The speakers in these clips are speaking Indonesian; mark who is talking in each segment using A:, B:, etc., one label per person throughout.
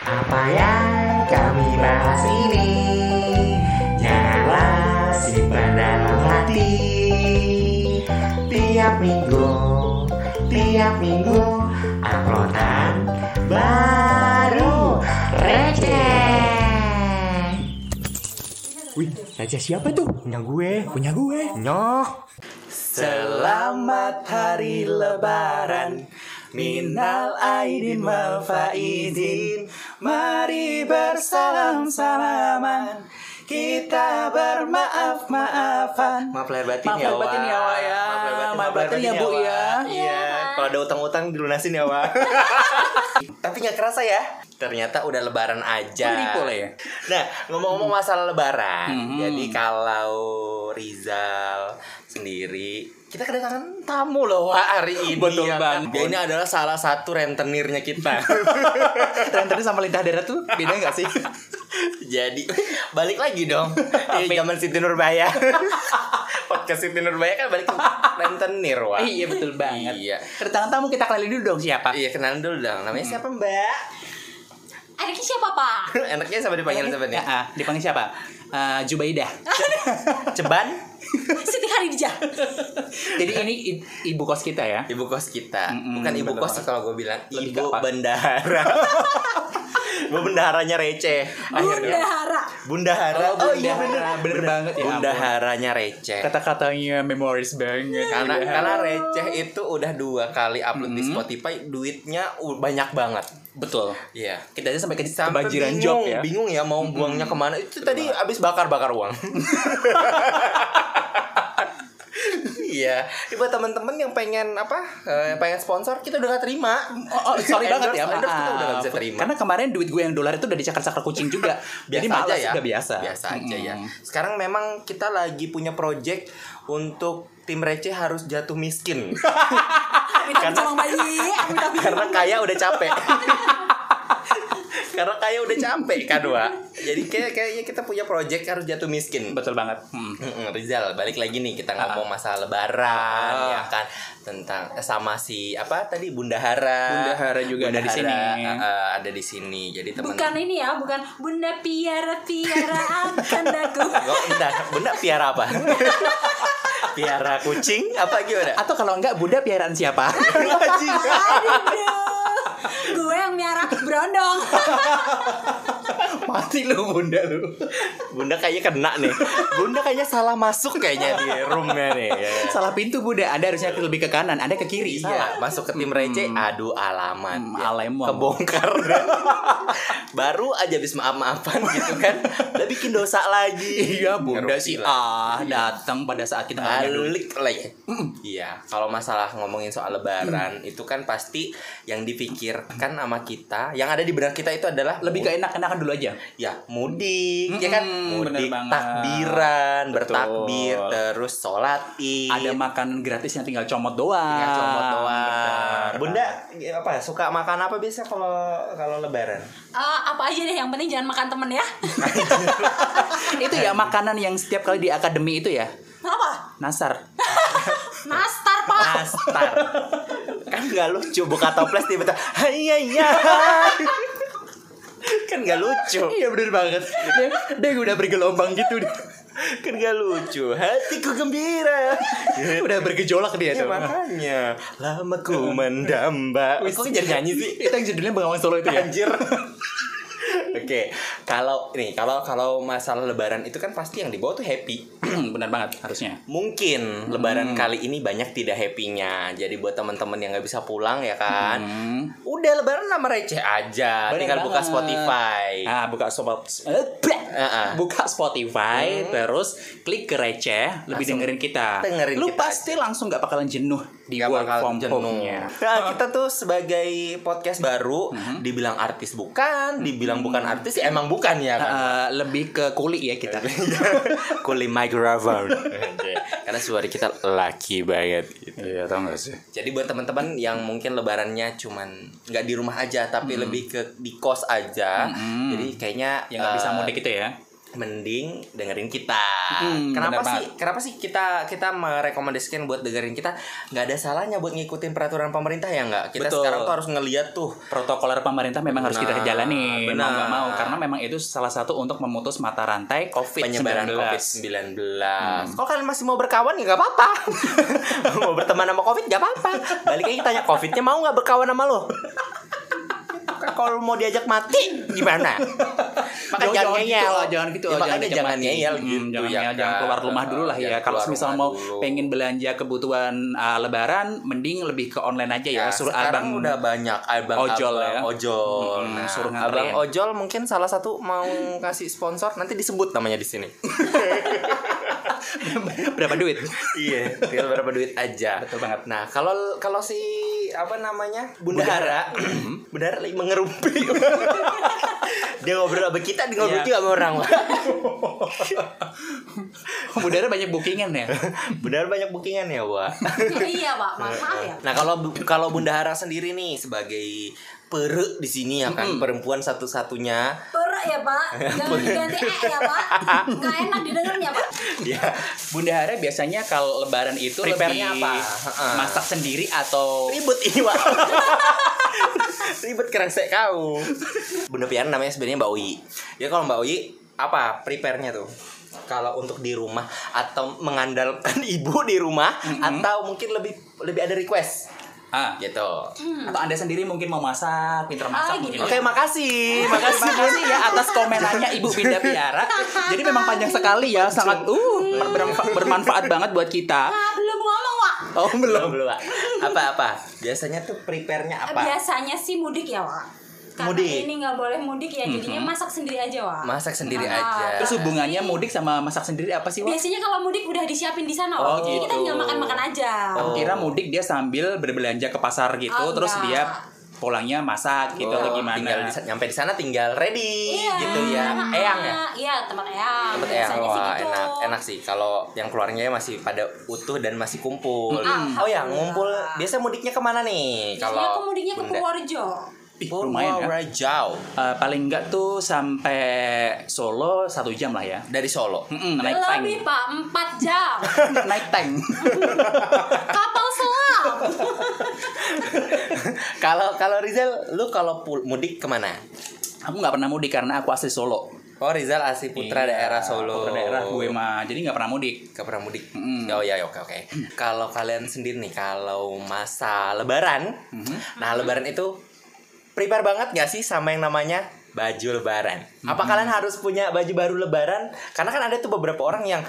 A: Apa yang kami bahas ini Janganlah simpan dalam hati Tiap minggu Tiap minggu Uploadan baru Receh
B: Wih, raja siapa tuh?
A: Punya gue
B: Punya gue.
A: Nyoh
C: Selamat hari lebaran Minal aidin wal faizin Mari bersalam-salaman Kita bermaaf-maafan
D: Maaf lahir batin
C: Maaf
D: ya,
C: lahir batin ya, Wa, ya. Maaf lahir batin ya, Bu, ya.
D: Iya, kalau ada utang-utang dilunasin ya, Wa. Tapi nggak kerasa ya. Ternyata udah lebaran aja.
C: Beri boleh ya? Hmm.
D: Nah, ngomong-ngomong masalah lebaran. Jadi kalau Rizal sendiri kita kedatangan tamu loh Wak, hari ini.
C: Betul
D: ya kan?
C: banget.
D: Dia ini adalah salah satu rentenirnya kita.
C: Tren tadi sama lintah daerah tuh beda gak sih?
D: Jadi balik lagi dong. Di zaman Siti Nurbaya. Podcast Siti Nurbaya kan balik ke rentenir, Wak.
C: iya betul banget
D: Iya.
C: Kedatangan tamu kita keliling dulu dong siapa?
D: Iya kenalan dulu dong. Namanya siapa Mbak?
E: Anaknya siapa pak?
D: Enaknya siapa dipanggil ya. sebenarnya?
C: Ah, ah, dipanggil siapa? Eh, Jubaidah
D: Ceban,
E: Siti Harijah.
C: Jadi ini i- ibu kos kita ya
D: ibu kos kita.
C: Mm-mm,
D: Bukan ibu
C: bener
D: kos sih kalau gue bilang,
C: Lebih
D: ibu
C: ke apa?
D: bendahara. ibu bendaharanya receh. Akhirnya. iya,
E: Bundahara.
D: Bundahara.
C: iya. Oh, bendahara. Bener banget ya,
D: Bundaharanya receh.
C: Kata-katanya memoris banget
D: Karena,
C: Bendahara.
D: karena receh itu udah dua kali upload di Spotify, duitnya u- banyak banget.
C: Betul
D: Iya.
C: Kita aja sampai ke
D: Sampai
C: kebanjiran
D: bingung,
C: job ya
D: bingung ya mau buangnya kemana. Itu tadi abis bakar-bakar uang. Iya, Ini buat teman-teman yang pengen apa, eh, yang pengen sponsor, kita udah gak terima.
C: Oh, oh, sorry banget ya.
D: Endorse- endorse kita udah gak bisa
C: maaf.
D: terima.
C: Karena kemarin duit gue yang dolar itu udah dicakar-cakar kucing juga. Jadi malas udah biasa.
D: ya. Biasa aja ya. Sekarang memang kita lagi punya project untuk tim receh harus jatuh miskin.
E: Amin amin colong bayi. Amin amin.
D: karena kaya udah capek karena kaya udah capek kan Wa jadi kayak kayaknya kita punya project harus jatuh miskin
C: Betul banget. Hmm.
D: Mm-mm, Rizal balik lagi nih kita ngomong masalah lebaran
C: Ah.
D: ya kan tentang eh, sama si apa tadi Bunda Hara
C: Bunda Hara juga ada di
D: Hara,
C: sini.
D: eh, eh, ada di sini jadi teman
E: Bukan ini ya, bukan Bunda Piara Piara akan daku.
D: Nggak, Bunda Bunda piara apa piara kucing apa gimana
C: Atau kalau enggak Bunda piaraan siapa?
E: Aduh, gue yang miara berondong.
C: Mati lu Bunda lu.
D: Bunda kayaknya kena nih Bunda kayaknya salah masuk kayaknya di roomnya nih ya.
C: Salah pintu Bunda. Anda harusnya lebih ke kanan, Anda ke kiri.
D: Iya, masuk ke tim receh, aduh alamat.
C: Hmm,
D: ya.
C: alemong.
D: Kebongkar. Baru aja habis maaf-maafan gitu kan. Udah bikin dosa lagi.
C: Iya, Bunda
D: Ngerti
C: si
D: lah.
C: A datang pada saat kita nggak ada duit.
D: Alik lagi. Iya, kalau masalah ngomongin soal lebaran
C: Mm.
D: itu kan pasti yang dipikirkan sama kita, yang ada di benak kita itu adalah
C: Lebih ke enak-enakan dulu aja.
D: ya mudik ya
C: Mm-mm,
D: kan
C: bener
D: mudik
C: banget.
D: takbiran bertakbir terus sholat id
C: Ada makan gratis yang tinggal comot doang.
D: Iya. Tinggal comot doang.
C: Benar.
D: Bunda ya apa suka makan apa biasa kalau kalau lebaran?
E: Eh, apa aja deh, yang penting jangan makan temen ya.
C: itu ya makanan yang setiap kali di akademi itu ya.
E: Apa?
C: Nasar.
E: Nastar
C: Ah.
E: pak.
D: Nastar. kan nggak lucu buka toples tiba-tiba.
C: iya,
D: Hai hai, hai." kan nggak lucu.
C: Iya bener banget dia, dia udah bergelombang gitu dia.
D: Kan nggak lucu. Hatiku gembira.
C: Udah bergejolak dia
D: Ya
C: tuh
D: makanya lama ku mendam mbak.
C: Wih,
D: Kok jadi nyanyi sih?
C: Itu yang judulnya Bengawan Solo itu ya
D: Anjir. Oke, kalau nih kalau kalau masalah lebaran itu kan pasti yang dibawa tuh happy. Hmm.
C: Bener banget harusnya
D: Mungkin lebaran kali ini banyak tidak happy-nya. Jadi buat teman-teman yang nggak bisa pulang ya kan. Udah lebaran nama receh aja.
C: Bener
D: Tinggal buka
C: banget.
D: Spotify.
C: Ah, buka sobat eh, bleh.
D: Ah, ah.
C: buka Spotify
D: Hmm.
C: terus klik ke receh lebih dengerin kita
D: dengerin
C: lu
D: kita
C: pasti langsung gak bakalan jenuh di
D: Nggak
C: work
D: bakal
C: from
D: jenuh.
C: home-nya
D: Nah, kita tuh sebagai podcast baru dibilang artis bukan, dibilang bukan artis ya emang bukan ya kan.
C: Eh, lebih ke kuli ya kita
D: Kuli microphone. Oke. Karena suara kita laki banget gitu.
C: Iya tau gak sih
D: Jadi buat teman-teman yang mungkin lebarannya cuman nggak Hmm. di rumah aja tapi lebih ke di kos aja. Jadi kayaknya
C: Yang gak Ya bisa
D: eh,
C: mudik itu ya
F: mending dengerin kita.
C: Hmm,
F: kenapa
C: benar banget.
F: sih? Kenapa sih kita kita merekomendasikan buat dengerin kita? Nggak ada salahnya buat ngikutin peraturan pemerintah ya nggak? Kita
C: Betul.
F: sekarang tuh harus ngeliat tuh.
C: protokoler pemerintah memang harus
F: Nah,
C: kita jalani
F: benar.
C: mau nggak mau karena memang itu salah satu untuk memutus mata rantai COVID-19
F: penyebaran COVID-19.
C: Hmm.
F: Kalau kalian masih mau berkawan ya nggak apa-apa. mau berteman sama COVID nggak apa-apa. Balik lagi tanya COVID-nya mau nggak berkawan sama lo? Kalau mau diajak mati gimana? Maka
C: Jangan-
F: jangan
C: jangan gitu,
F: ngeyel.
C: jangan gitu,
F: Ya,
C: jangan
F: makanya
C: diajak
F: jangan
C: mati.
F: ngeyel
C: Hmm,
F: gitu
C: jangan
F: ya
C: ngeyel, jangan
F: kan.
C: keluar rumah dulu lah ya.
F: Jangan
C: Kalau
F: keluar
C: misal
F: rumah
C: mau
F: dulu.
C: pengen belanja kebutuhan uh, lebaran, mending lebih ke online aja ya.
F: Ya,
C: Suruh
F: sekarang
C: abang
F: udah banyak abang
C: ojol
F: abang
C: ya.
F: ojol. Nah,
C: Mm-mm, suruh nganterin.
F: abang ojol mungkin salah satu mau kasih sponsor nanti disebut namanya di sini.
C: berapa duit?
F: Iya, tinggal berapa duit aja.
C: Betul banget.
F: Nah, kalau kalau si apa namanya? Bunda Hara,
C: Mm-hmm.
F: Bunda Hara lagi mengerumpi. dia ngobrol sama kita, dia ngobrol
C: Iya.
F: juga sama orang.
C: Budara banyak bookingan ya.
F: Bunda Hara banyak bookingan ya, Wak.
E: iya pak maaf, maaf ya
F: Nah, kalau bu- kalau Bunda Hara sendiri nih sebagai pere di sini ya kan, perempuan satu-satunya
E: per ya pak jangan diganti e ya pak nggak enak didengarnya pak
F: dia
C: Bunda Hara biasanya kalau lebaran itu
F: Prepare-nya
C: lebih
F: apa? Heeh.
C: masak sendiri atau
F: ribut ini, Wak. ribut kerangsek kau. Bunda Pian namanya sebenarnya Mbak Uyi. Ya kalau Mbak Uyi apa prepare-nya tuh? Kalau untuk di rumah atau mengandalkan ibu di rumah atau mungkin lebih lebih ada request
C: Ah,
F: gitu.
C: atau Anda sendiri mungkin mau masak, pinter
E: Hmm. Ah,
C: masak mungkin.
E: gitu.
F: Oke, makasih.
C: Makasih
F: Makasih.
C: makasih ya atas komenannya Ibu Binda Piara. Jadi memang panjang sekali ya, sangat uh
F: Hmm.
C: bermanfa- bermanfaat banget buat kita.
E: Ah, belum ngomong pak
F: Oh, belum belum. Wak. Apa-apa? Biasanya tuh prepare-nya apa?
E: biasanya sih mudik ya pak karena
F: Mudik.
E: ini nggak boleh mudik ya jadinya masak sendiri aja pak
F: Masak sendiri
E: Ah,
F: aja.
C: Terus hubungannya mudik sama masak sendiri apa sih, Wak?
E: biasanya kalau mudik udah disiapin di sana
C: Oh,
E: Wak. jadi kita
C: gitu.
E: tinggal makan makan aja
F: Oh,
C: Aku kira mudik dia sambil berbelanja ke pasar gitu,
E: Oh,
C: terus dia
E: enggak.
C: pulangnya masak gitu atau gimana?
F: Oh, Tinggal di, nyampe di sana tinggal ready gitu ya.
E: ah,
F: Eyang ya.
E: iya tempat eyang
F: Tempat yang
E: biasanya sih
F: wah
E: gitu
F: enak enak sih kalau yang keluarnya masih pada utuh dan masih kumpul.
E: Mm.
F: Oh ya ngumpul biasa mudiknya kemana nih?
E: biasanya aku mudiknya ke
F: Bunda?
E: Purworejo
C: Ih,
E: Oh,
C: lumayan ya.
F: Purworejo.
C: Eh, paling enggak tuh sampai Solo satu jam lah ya.
F: dari Solo.
C: Mm-mm, naik tank,
E: lebih pak 4 jam
C: naik tank.
E: kapal selam
F: Kalau kalau Rizal, lu kalau pul- mudik kemana?
C: Aku nggak pernah mudik karena aku asli Solo.
F: Oh Rizal asli putra
C: Iya,
F: daerah Solo.
C: Putra daerah gue mah, jadi nggak pernah mudik.
F: Gak pernah mudik.
C: Mm.
F: Oh ya, ya, oke oke. Kalau kalian sendiri nih, kalau masa Lebaran, nah Lebaran itu prepare banget gak sih sama yang namanya baju Lebaran? Apa kalian harus punya baju baru Lebaran? Karena kan ada tuh beberapa orang yang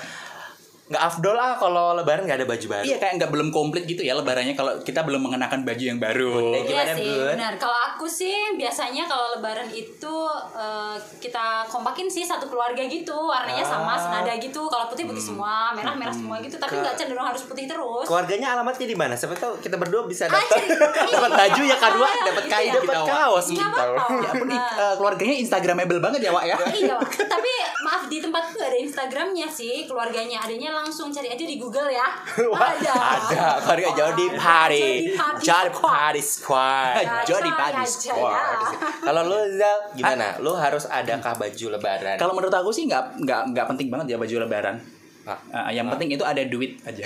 F: nggak afdol ah kalau Lebaran nggak ada baju baru.
C: Iya kayak nggak belum komplit gitu ya lebarannya kalau kita belum mengenakan baju yang baru.
E: Iya
F: Eh, gimana,
E: sih,
F: Bun?
E: benar. Kalau aku sih biasanya kalau lebaran itu eh, kita kompakin sih satu keluarga gitu, warnanya
F: Ah.
E: sama, senada gitu. Kalau putih putih
F: Hmm.
E: semua, merah merah semua gitu, tapi nggak cenderung harus putih terus.
F: Keluarganya alamatnya di mana? Siapa tahu kita berdua bisa dapat
E: jadi-
F: dapat baju ya kedua,
E: Ayo,
F: dapat
E: gitu
F: kain,
E: ya.
F: dapat kaos
E: Nggak apa-apa.
F: gitu.
E: Wak.
C: Ini,
E: Nah,
C: eh, keluarganya instagramable banget ya Wak ya.
E: Iya, Wak. tapi maaf di tempatku nggak ada Instagramnya sih keluarganya. Adanya langsung cari aja di Google ya.
F: Wah,
E: Ada.
F: ada keluarga Jody Party, Jody Party Squad,
E: Ya, coy,
F: Jody
E: aja
F: Party Squad.
E: ya.
F: Kalau lu Zal, gimana? Lu harus adakah baju Lebaran?
C: Kalau menurut aku sih nggak nggak nggak penting banget ya baju lebaran.
F: Ah.
C: Eh, yang penting itu ada duit aja.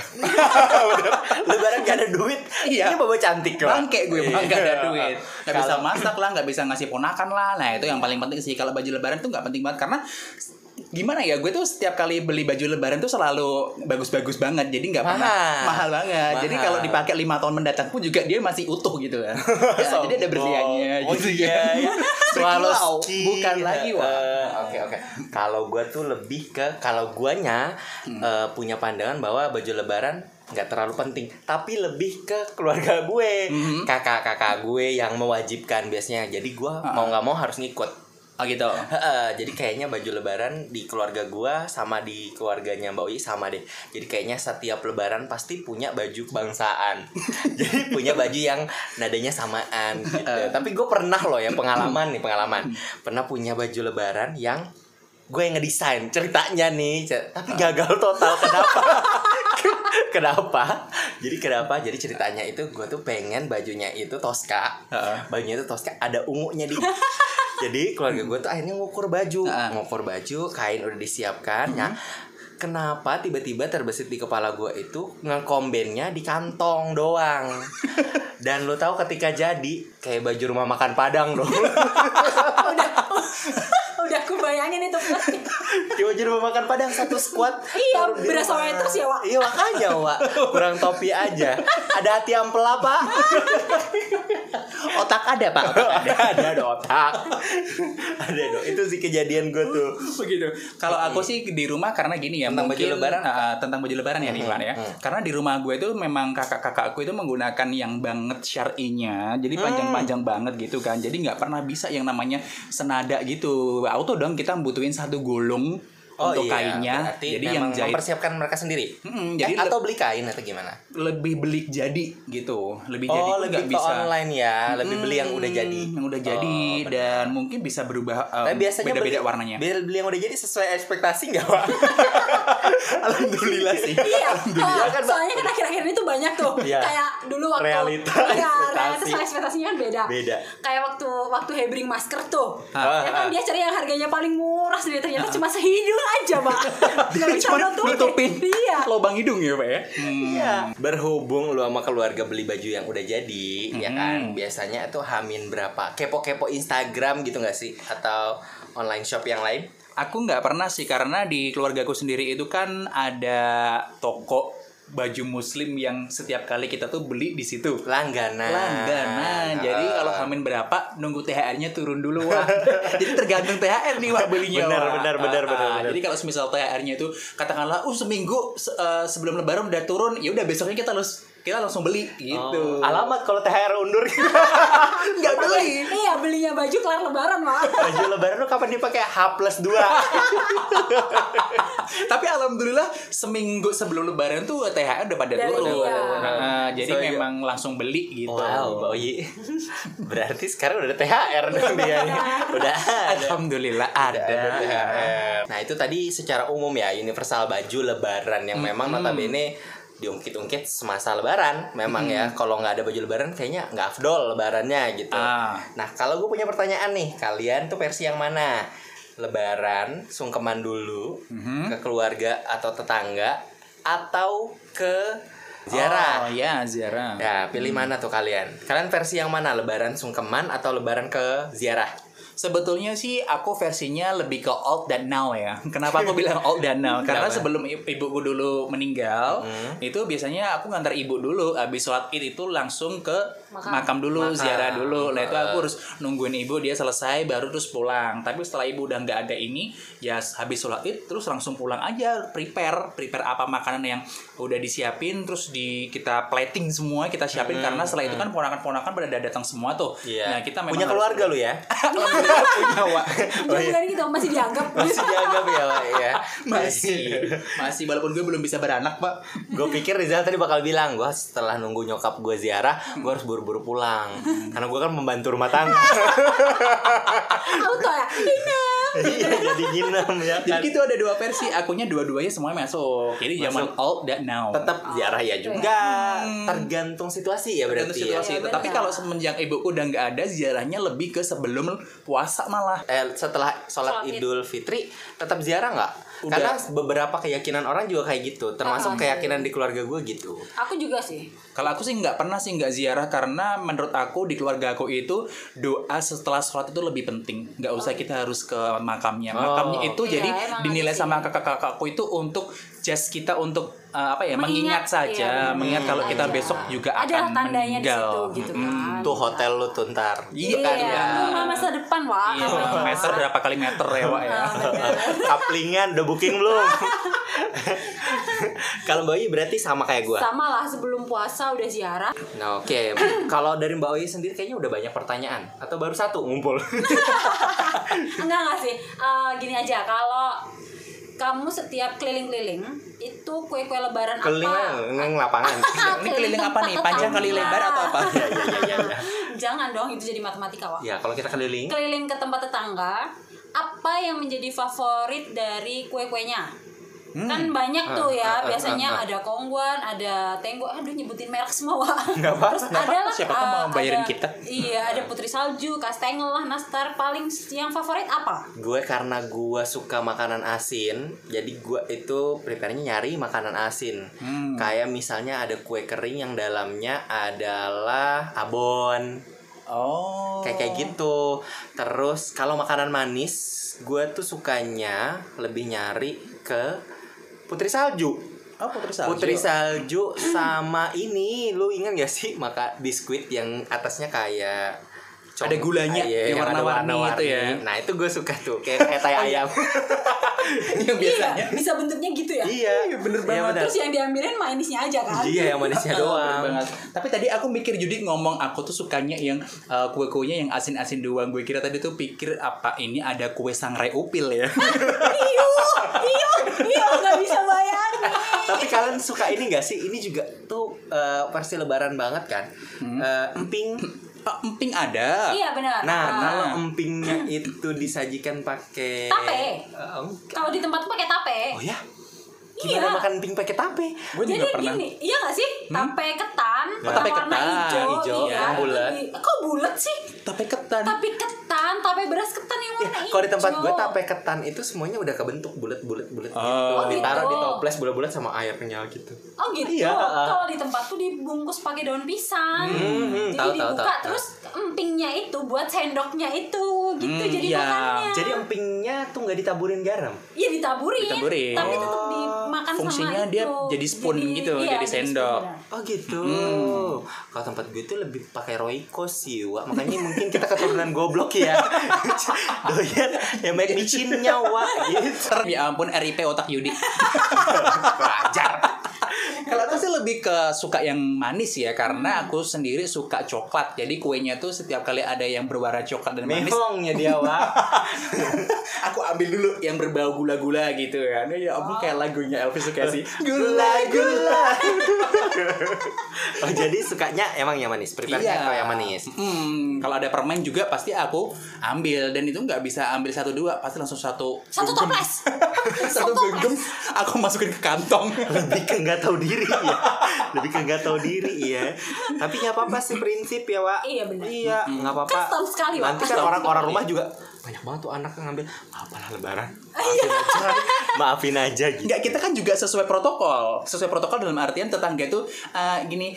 F: Lebaran gak ada duit,
C: Iya.
F: ini bawa cantik lah.
C: Bangke gue bang nggak ada
F: Iya.
C: duit. Nggak bisa
F: Kalau-
C: masak lah, nggak bisa ngasih ponakan lah. Nah itu yang paling penting sih kalau baju lebaran tuh nggak penting banget karena gimana ya gue tuh setiap kali beli baju lebaran tuh selalu bagus-bagus banget jadi nggak pernah
F: Mahal.
C: mahal banget jadi
F: Mahal.
C: kalau dipakai lima tahun mendatang pun juga dia masih utuh gitu kan Ya, jadi ada berliannya
F: Oh,
C: gitu
F: oh iya, iya.
C: Berkilau,
F: Swarovski.
C: bukan lagi
F: Eh,
C: wah
F: Oke oke. Kalau gua tuh lebih ke kalau guanya
C: Hmm.
F: eh, punya pandangan bahwa baju lebaran nggak terlalu penting, tapi lebih ke keluarga gue,
C: Hmm.
F: kakak-kakak gue yang mewajibkan biasanya. Jadi gua
C: Ah.
F: mau nggak mau harus ngikut.
C: oh gitu
F: Heeh, jadi kayaknya baju lebaran di keluarga gua sama di keluarganya Mbak Uyi sama deh. Jadi kayaknya setiap lebaran pasti punya baju kebangsaan. jadi punya baju yang nadanya samaan gitu. Tapi gue pernah loh ya pengalaman nih, pengalaman. Pernah punya baju lebaran yang gue yang ngedesain ceritanya nih cer- tapi gagal total kenapa kenapa jadi kenapa jadi ceritanya itu gue tuh pengen bajunya itu toska bajunya itu toska ada ungunya di Jadi keluarga gue tuh akhirnya ngukur baju,
C: Ah.
F: ngukur baju, kain udah disiapkan. Nah, kenapa tiba-tiba terbesit di kepala gue itu ngekombennya di kantong doang. Dan lo tahu ketika jadi kayak baju rumah makan Padang dong.
E: udah aku bayangin itu
F: Di baju rumah makan Padang satu squad.
E: Iya,
F: taruh di
E: berasa
F: rumah.
E: waitress ya, Wak.
F: Iya, makanya, Wak. Kurang topi aja. Ada hati ampel apa? otak ada, Pak. Otak ada, ada, ada otak. ada dong. Itu sih kejadian gue tuh.
C: begitu. Gitu. Kalau aku sih di rumah karena gini ya
F: Tentang baju
C: mungkin-
F: lebaran.
C: Ah, ah, tentang baju lebaran ya nih Lan ya. Karena di rumah gue itu memang kakak-kakakku itu menggunakan yang banget syar'inya,
F: Mm.
C: jadi panjang-panjang banget gitu kan. Jadi nggak pernah bisa yang namanya senada gitu. Auto dong kita butuhin satu gulung untuk kainnya.
F: Oh iya, Berarti
C: Jadi yang
F: memang
C: jahit
F: mempersiapkan mereka sendiri.
C: Mm-mm,
F: Eh,
C: jadi
F: atau beli kain atau gimana?
C: lebih belik jadi gitu, lebih jadi
F: oh,
C: tuh
F: lebih
C: nggak
F: ke
C: bisa.
F: online ya, lebih beli yang udah oh,
C: Hmm,
F: jadi.
C: yang udah jadi
F: Oh, benar.
C: dan mungkin bisa berubah um,
F: Tapi biasanya
C: beda-beda
F: beli-
C: warnanya.
F: Beli, beli yang udah jadi sesuai ekspektasi nggak, Pak? Alhamdulillah sih.
E: iya
F: Alhamdulillah
E: eh,
F: kan, Mbak.
E: soalnya kan akhir-akhir ini tuh banyak tuh
F: Iya.
E: kayak dulu waktu
F: Realita,
E: iya,
F: ekspektasi.
E: realitas sama ekspektasinya kan beda
F: Beda.
E: kayak waktu waktu hebring masker tuh
F: Ah,
E: ya kan
F: ah.
E: dia cari yang harganya paling murah sendiri ternyata cuma sehidung aja pak nggak bisa
C: Ah. Cuma
E: nutupin.
C: nutupin
E: iya
C: lubang hidung ya pak ya.
F: Iya. Berhubung lu sama keluarga beli baju yang udah jadi, ya kan? Biasanya itu hamin berapa? Kepo-kepo Instagram gitu nggak sih? Atau online shop yang lain?
C: Aku nggak pernah sih karena di keluargaku sendiri itu kan ada toko baju muslim yang setiap kali kita tuh beli di situ.
F: Langganan.
C: Langganan. Jadi kalau
F: Ah.
C: hamin berapa nunggu THR-nya turun dulu Wak. Jadi tergantung THR nih Wak belinya.
F: Benar,
C: Wak.
F: benar, benar,
C: Ah,
F: benar,
C: ah.
F: benar.
C: Jadi kalau misal THR-nya itu katakanlah uh seminggu se- eh, sebelum lebaran udah turun, ya udah besoknya kita harus kita langsung beli gitu.
F: Oh, Alamat kalau THR undur
C: nggak beli. Oh,
E: iya belinya baju kelar lebaran pak
F: Baju lebaran lu kapan dipakai? H plus 2
C: Ah, Tapi alhamdulillah seminggu sebelum lebaran tuh THR udah pada
E: Udah
C: turun.
E: iya.
C: Nah, jadi
F: So, iya.
C: memang langsung beli gitu.
F: Mbak Oyi Berarti sekarang udah ada THR dong dia nih. Udah ada
C: Alhamdulillah ada.
F: THR. Nah itu tadi secara umum ya universal baju lebaran yang memang notabene diungkit-ungkit semasa lebaran memang ya kalau nggak ada baju lebaran kayaknya nggak afdol lebarannya gitu
C: Ah.
F: nah kalau gue punya pertanyaan nih kalian tuh versi yang mana lebaran sungkeman dulu
C: Mm-hmm.
F: ke keluarga atau tetangga atau ke
C: Oh
F: ziarah
C: ya ziarah.
F: Nah, pilih mana tuh kalian? Kalian versi yang mana? Lebaran sungkeman atau lebaran ke ziarah?
C: Sebetulnya sih aku versinya lebih ke old dan now ya. Kenapa aku bilang old dan now? Karena sebelum i- ibuku dulu meninggal,
F: Hmm.
C: itu biasanya aku ngantar ibu dulu. Abis sholat id itu langsung ke
E: Makam.
C: makam, dulu, ziarah dulu. Nah itu aku
F: Makam.
C: harus nungguin ibu dia selesai baru terus pulang. Tapi setelah ibu udah nggak ada ini, ya habis sholat id terus langsung pulang aja. Prepare, prepare apa makanan yang udah disiapin, terus di kita plating semua kita siapin.
F: Hmm.
C: Karena setelah itu kan ponakan-ponakan pada datang semua tuh. Nah kita memang
F: Iya. punya
C: harus-
F: keluarga lu ya?
C: Alhamdulillah punya Wak. iya.
E: jangan gitu masih dianggap
F: Masih dianggap ya, Wak, ya.
C: Masih Masih walaupun gue belum bisa beranak pak
F: Gue pikir Rizal tadi bakal bilang Gue setelah nunggu nyokap gue ziarah Gue harus buru-buru pulang Karena gue kan membantu rumah tangga
E: auto ya Ina.
F: Iya jadi nginam ya kan
C: Jadi itu ada dua versi Akunya dua-duanya semuanya masuk Jadi zaman
F: Masuk.
C: old dan now
F: Tetap ziarah ya juga Tergantung situasi ya
C: Hmm. Tergantung
F: berarti ya.
C: situasi
E: Iya,
C: itu
E: benar.
C: Tapi kalau semenjak ibuku udah nggak ada Ziarahnya lebih ke sebelum puasa malah
F: Eh, setelah sholat
E: Sholat Id.
F: Idul Fitri tetap ziarah nggak?
C: Udah.
F: Karena beberapa keyakinan orang juga kayak gitu, termasuk
E: Apa?
F: keyakinan di keluarga gue gitu.
E: aku juga sih
C: Kalau aku sih nggak pernah sih nggak ziarah karena menurut aku di keluarga aku itu doa setelah sholat itu lebih penting. Nggak usah kita harus ke makamnya. Makamnya itu
E: Iya,
C: jadi
E: emang
C: dinilai
E: ada sih.
C: sama kakak-kakakku itu untuk just kita untuk eh, apa ya mengingat,
E: Mengingat,
C: saja,
E: iya, benar.
C: mengingat kalau kita
E: Aja.
C: besok juga
E: Ada
C: akan
E: tandanya di
C: meninggal.
E: situ, gitu kan.
C: Mm-mm.
F: Tuh hotel lu tuh ntar. Gitu
C: Iya kan
E: Iya,
C: ya.
E: rumah masa depan wah
C: Iya, meter berapa kali meter ya, Wak ya.
F: Kaplingan udah booking belum? Kalau Mbak Oyi berarti sama kayak gue.
E: sama lah sebelum puasa udah ziarah
F: Nah, oke. Kalau dari Mbak Oyi sendiri kayaknya udah banyak pertanyaan atau baru satu ngumpul.
E: enggak enggak sih Eh, gini aja kalau kamu setiap keliling-keliling itu kue-kue lebaran
F: Keliling
E: apa
F: neng lapangan.
C: Ini keliling apa nih? Panjang kali lebar atau apa?
E: jangan dong itu jadi matematika wah
F: ya, kalau kita keliling
E: keliling ke tempat tetangga apa yang menjadi favorit dari kue-kuenya kan banyak tuh
F: Ah,
E: ya
F: ah, ah,
E: biasanya
F: ah, ah.
E: ada kongguan ada tenggo aduh nyebutin merek semua Wak.
C: apa,
E: terus
C: nggak apa.
E: ada lah
C: Siapa tahu mau
E: ah,
C: bayarin
E: ada-
C: kita.
E: iya ada putri salju kastengel lah nastar paling s- yang favorit apa
F: gue karena gue suka makanan asin jadi gue itu prepare-nya nyari makanan asin kayak misalnya ada kue kering yang dalamnya adalah abon
C: Oh.
F: kayak kayak gitu terus kalau makanan manis gue tuh sukanya lebih nyari ke putri salju
C: Oh, putri salju.
F: Putri salju sama ini lu ingat gak sih maka biskuit yang atasnya kayak cong-
C: Ada gulanya,
F: Iya,
C: yang
F: yang ada
C: warna-warni itu ya. Iya.
F: Nah itu gue suka tuh kayak kayak tai ayam.
C: yang biasanya.
E: iya bisa bentuknya gitu ya
F: iya,
C: bener
F: Iya,
C: banget.
F: bener.
E: terus yang diambilin manisnya aja kan
F: Iya yang manisnya
C: Ah, bener
F: doang.
C: banget. Tapi tadi aku mikir Judi ngomong aku tuh sukanya yang uh, kue-kuenya yang asin-asin doang. Gue kira tadi tuh pikir apa ini ada kue sangrai upil ya.
E: iyo iyo iyo Iya, nggak bisa bayangin
F: Tapi kalian suka ini gak sih? Ini juga tuh eh, versi lebaran banget kan.
C: Hmm.
F: Eh, emping.
C: Ah, emping ada.
E: iya benar
F: Nah,
E: Ah.
F: kalau empingnya itu disajikan pakai
E: Tape.
F: Eh,
E: kalau di tempat pakai tape
F: oh ya?
E: Iya.
F: Gimana makan emping pakai tape?
C: Gue juga
E: Jadi
C: pernah. Hmm? Ya,
E: gini, iya gak sih? Tape ketan,
C: Tape
E: warna
C: ketan, ya,
E: hijau,
F: hijau,
E: iya,
F: yang
E: itu
F: bulat.
E: di- Kok bulat sih?
C: Tapi ketan.
E: Tapi ketan, tape beras ketan yang
F: Ya,
E: warna hijau.
F: kalau di tempat gue tape ketan itu semuanya udah kebentuk bulat-bulat bulat gitu.
C: Oh.
F: Ditaruh di
E: gitu.
F: toples bulat-bulat sama airnya gitu.
E: Oh gitu.
F: Iya, ah.
E: Kalau di tempatku dibungkus pakai daun pisang. jadi
F: hmm, tahu, tahu,
E: dibuka
F: tahu,
E: terus empingnya itu buat sendoknya itu gitu
C: Hmm,
E: jadi
C: iya.
E: makannya.
F: Jadi empingnya tuh nggak ditaburin garam.
E: Iya ditaburin,
C: Ditaburin. Oh,
E: tapi tetap dimakan
C: Fungsinya
E: sama
C: dia
E: itu.
C: jadi spoon gitu,
E: iya,
C: jadi sendok.
E: spoon, benar.
F: Oh gitu. Kalau tempat gue tuh lebih pakai Royco sih, Wak. Makanya mungkin kita keturunan goblok ya. Doyan yang baik micinnya, Wak. Gitu.
C: Ya ampun RIP otak Yudi. Kalau aku sih lebih ke suka yang manis ya
E: Hmm.
C: karena aku sendiri suka coklat. Jadi kuenya tuh setiap kali ada yang berwarna coklat dan manis,
F: Mehongnya dia, Wak.
C: aku ambil dulu yang berbau gula-gula gitu kan. Ya ampun kayak lagunya Elvis suka sih.
F: Gula-gula. oh, jadi sukanya emang yang manis. Prepare-nya kalau yang manis.
C: Hmm, Iya. kalau ada permen juga pasti aku ambil dan itu nggak bisa ambil satu dua, pasti langsung satu
E: Satu
C: genggam.
E: toples.
C: satu genggam aku masukin ke kantong.
F: lebih ke nggak tahu diri ya lebih ke nggak tahu diri ya tapi nggak apa-apa sih prinsip ya Wak
E: Iya, benar.
F: iya nggak apa-apa
E: Custom sekali, Wak.
F: nanti kan
E: Custom
F: orang-orang
C: sekali.
F: rumah juga banyak banget tuh anak yang ngambil apalah lebaran
E: Iya.
F: maafin aja maafin aja gitu
C: Enggak, kita kan juga sesuai protokol. Sesuai protokol dalam artian tetangga itu eh, gini,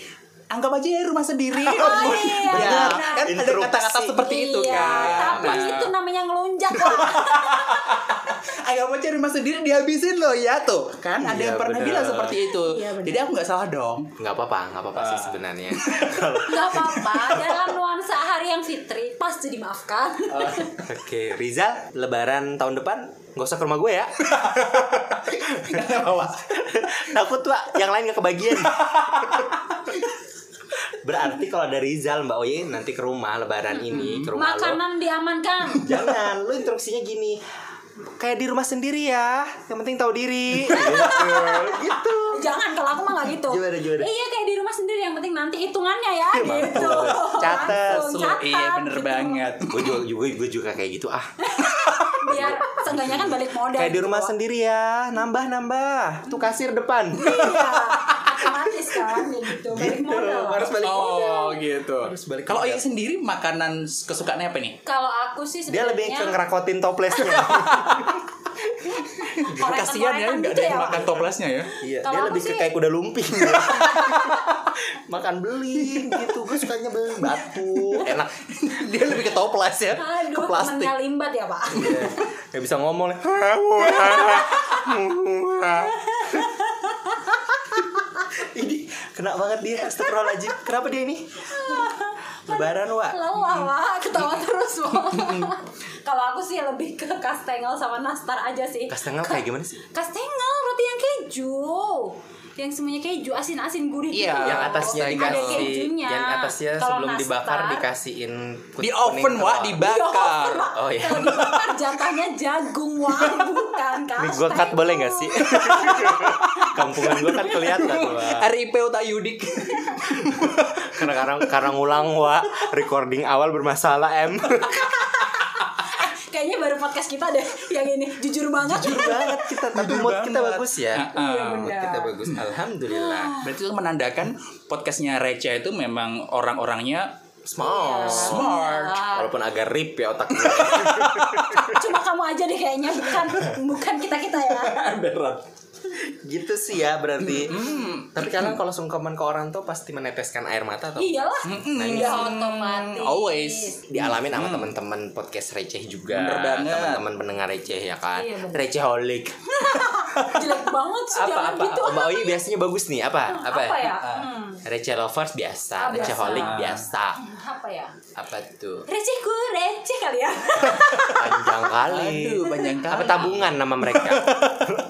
C: anggap aja ya rumah sendiri.
E: Oh, iya,
C: Ya,
E: benar.
C: kan ada
F: Interupsi.
C: kata-kata seperti itu
E: Iya,
C: kan.
E: Tapi
C: Nah,
E: itu namanya ngelunjak Wak.
C: Anggap aja rumah sendiri dihabisin loh ya tuh. Kan ada
F: Iya,
C: yang pernah
F: benar.
C: bilang seperti itu.
E: Iya, benar.
C: Jadi aku nggak salah dong.
F: nggak apa-apa nggak apa-apa sih sebenarnya Kalau-
E: Gak apa-apa, dalam nuansa hari yang fitri pasti dimaafkan.
F: Ah, oke Rizal lebaran tahun depan nggak usah ke rumah gue ya takut Wak yang lain nggak kebagian berarti kalau ada Rizal Mbak Oye nanti ke rumah lebaran ini ke rumah lo
E: Makanan diamankan.
F: jangan lu instruksinya gini kayak di rumah sendiri ya yang penting tahu diri gitu, gitu.
E: Jangan kalau aku mah gak gitu.
F: Gimana, gimana? Iya,
E: Iya kayak di rumah sendiri yang penting nanti hitungannya ya gitu.
F: Catat,
E: Langsung
C: Slow, iya bener
E: gitu.
C: banget.
F: gue juga juga gue juga kayak gitu ah
E: Biar seenggaknya kan balik modal.
F: kayak di
E: gitu,
F: rumah
E: Wak.
F: sendiri ya nambah nambah tuh kasir depan
E: Iya. Otomatis kan ya gitu. Balik modal.
F: balik
C: Oh gitu.
F: balik
C: Kalau
F: modal.
C: Iya sendiri makanan kesukaannya apa nih?
E: Kalau aku sih
F: dia
E: sebenarnya
F: lebih ke ngerakotin toplesnya
E: koretan-
C: Kasihan ya
E: koretan
C: nggak
E: gitu
C: ada yang
E: ya, Wak.
C: makan toplesnya ya.
F: iya
E: Kalau
F: dia
E: aku
F: lebih ke
E: sih-
F: kayak kuda lumping makan beling gitu gue sukanya beling batu enak
C: Dia lebih ke toples ya.
E: Aduh,
C: ke plastik.
E: temennya limbat ya, Pak.
F: Gak Iya. bisa ngomong lah. ini kena banget dia Astagfirullahaladzim Kenapa dia ini? Lebaran wa
E: Lelah, Wak. Ketawa terus, Wak. Kalau aku sih lebih ke kastengel sama nastar aja sih.
F: Kastengel kayak gimana sih?
E: Kastengel roti yang keju. Yang semuanya keju asin-asin gurih
C: Iya,
E: gitu.
F: Yang
E: loh.
F: atasnya
E: Ada
F: dikasih
E: kejunya.
F: Yang atasnya
E: Kalau
F: sebelum dibakar
E: nastar,
F: dikasihin kut-
C: Di
F: kuning
C: oven wah
F: telur.
E: dioper,
C: dibakar.
E: Wak.
F: Oh iya.
E: Kalau dibakar jatahnya jagung, Wak. Bukan kastengel.
F: Ini gue cut boleh gak sih? Kampungan gue kan kelihatan Wak.
C: RIP Uta Yudik.
F: Karena, karena, karena ngulang wa Recording awal bermasalah em
E: Eh, kayaknya baru podcast kita deh yang ini jujur banget. Iya,
F: Jujur banget kita tapi
C: Jujur
F: mood kita
C: banget.
F: bagus ya. Iya.
C: Heeh.
F: Mood kita bagus. Alhamdulillah.
C: Berarti itu menandakan podcastnya Reca itu memang orang-orangnya
F: Small.
C: smart.
F: Walaupun agak rip ya otaknya.
E: Cuma kamu aja deh kayaknya bukan bukan kita kita ya.
C: Berat.
F: gitu sih ya berarti. Tapi kalian kalau sungkeman ke orang tuh pasti meneteskan air mata atau
E: Iyalah. Udah otomatis.
C: Always.
F: dialamin sama teman-teman podcast receh juga.
C: Bener banget.
F: Teman-teman pendengar receh ya kan.
E: Iya, bener.
F: Receholic.
E: Jelek banget sih jangan
F: Apa
E: gitu.
F: Mbak Oyi biasanya bagus nih apa? Apa?
E: Apa ya?
C: Ah.
E: Hmm,
F: Receh lovers biasa,
E: Ah, biasa.
F: receholic biasa.
E: apa ya?
F: Apa tuh?
E: Recehku receh kali ya.
F: Panjang kali.
C: Aduh, panjang kali.
F: Apa tabungan nama mereka?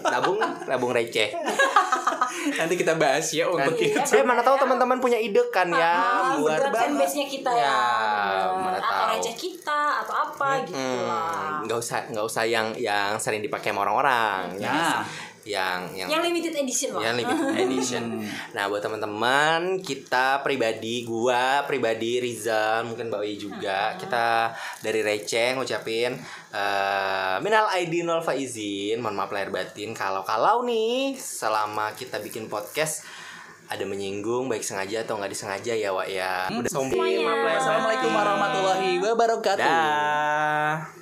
F: tabung, tabung receh.
C: Nanti kita bahas ya untuk
E: Iya.
F: Nanti,
C: itu.
F: saya mana tahu teman-teman punya ide kan
E: Ah,
F: ya buat
E: buat fanbase nya kita ya.
F: Ya,
E: Bener.
F: mana
E: atau
F: tahu.
E: receh kita atau apa gitu lah.
F: Hmm, nggak usah nggak usah yang yang sering dipakai sama orang-orang
E: Iya.
F: ya.
C: Nah.
F: yang yang
E: Yang limited edition loh.
F: yang Ya, limited edition. Nah buat teman-teman kita pribadi gua pribadi Rizal mungkin Mbak Wi juga kita dari Receh ngucapin eh, minal aidin wal faizin mohon maaf lahir batin kalau kalau nih selama kita bikin podcast ada menyinggung baik sengaja atau nggak disengaja ya Wak ya. Udah sombong.
E: Semuanya.
F: Maaf lahir batin.
C: Assalamualaikum warahmatullahi wabarakatuh.
F: Dah.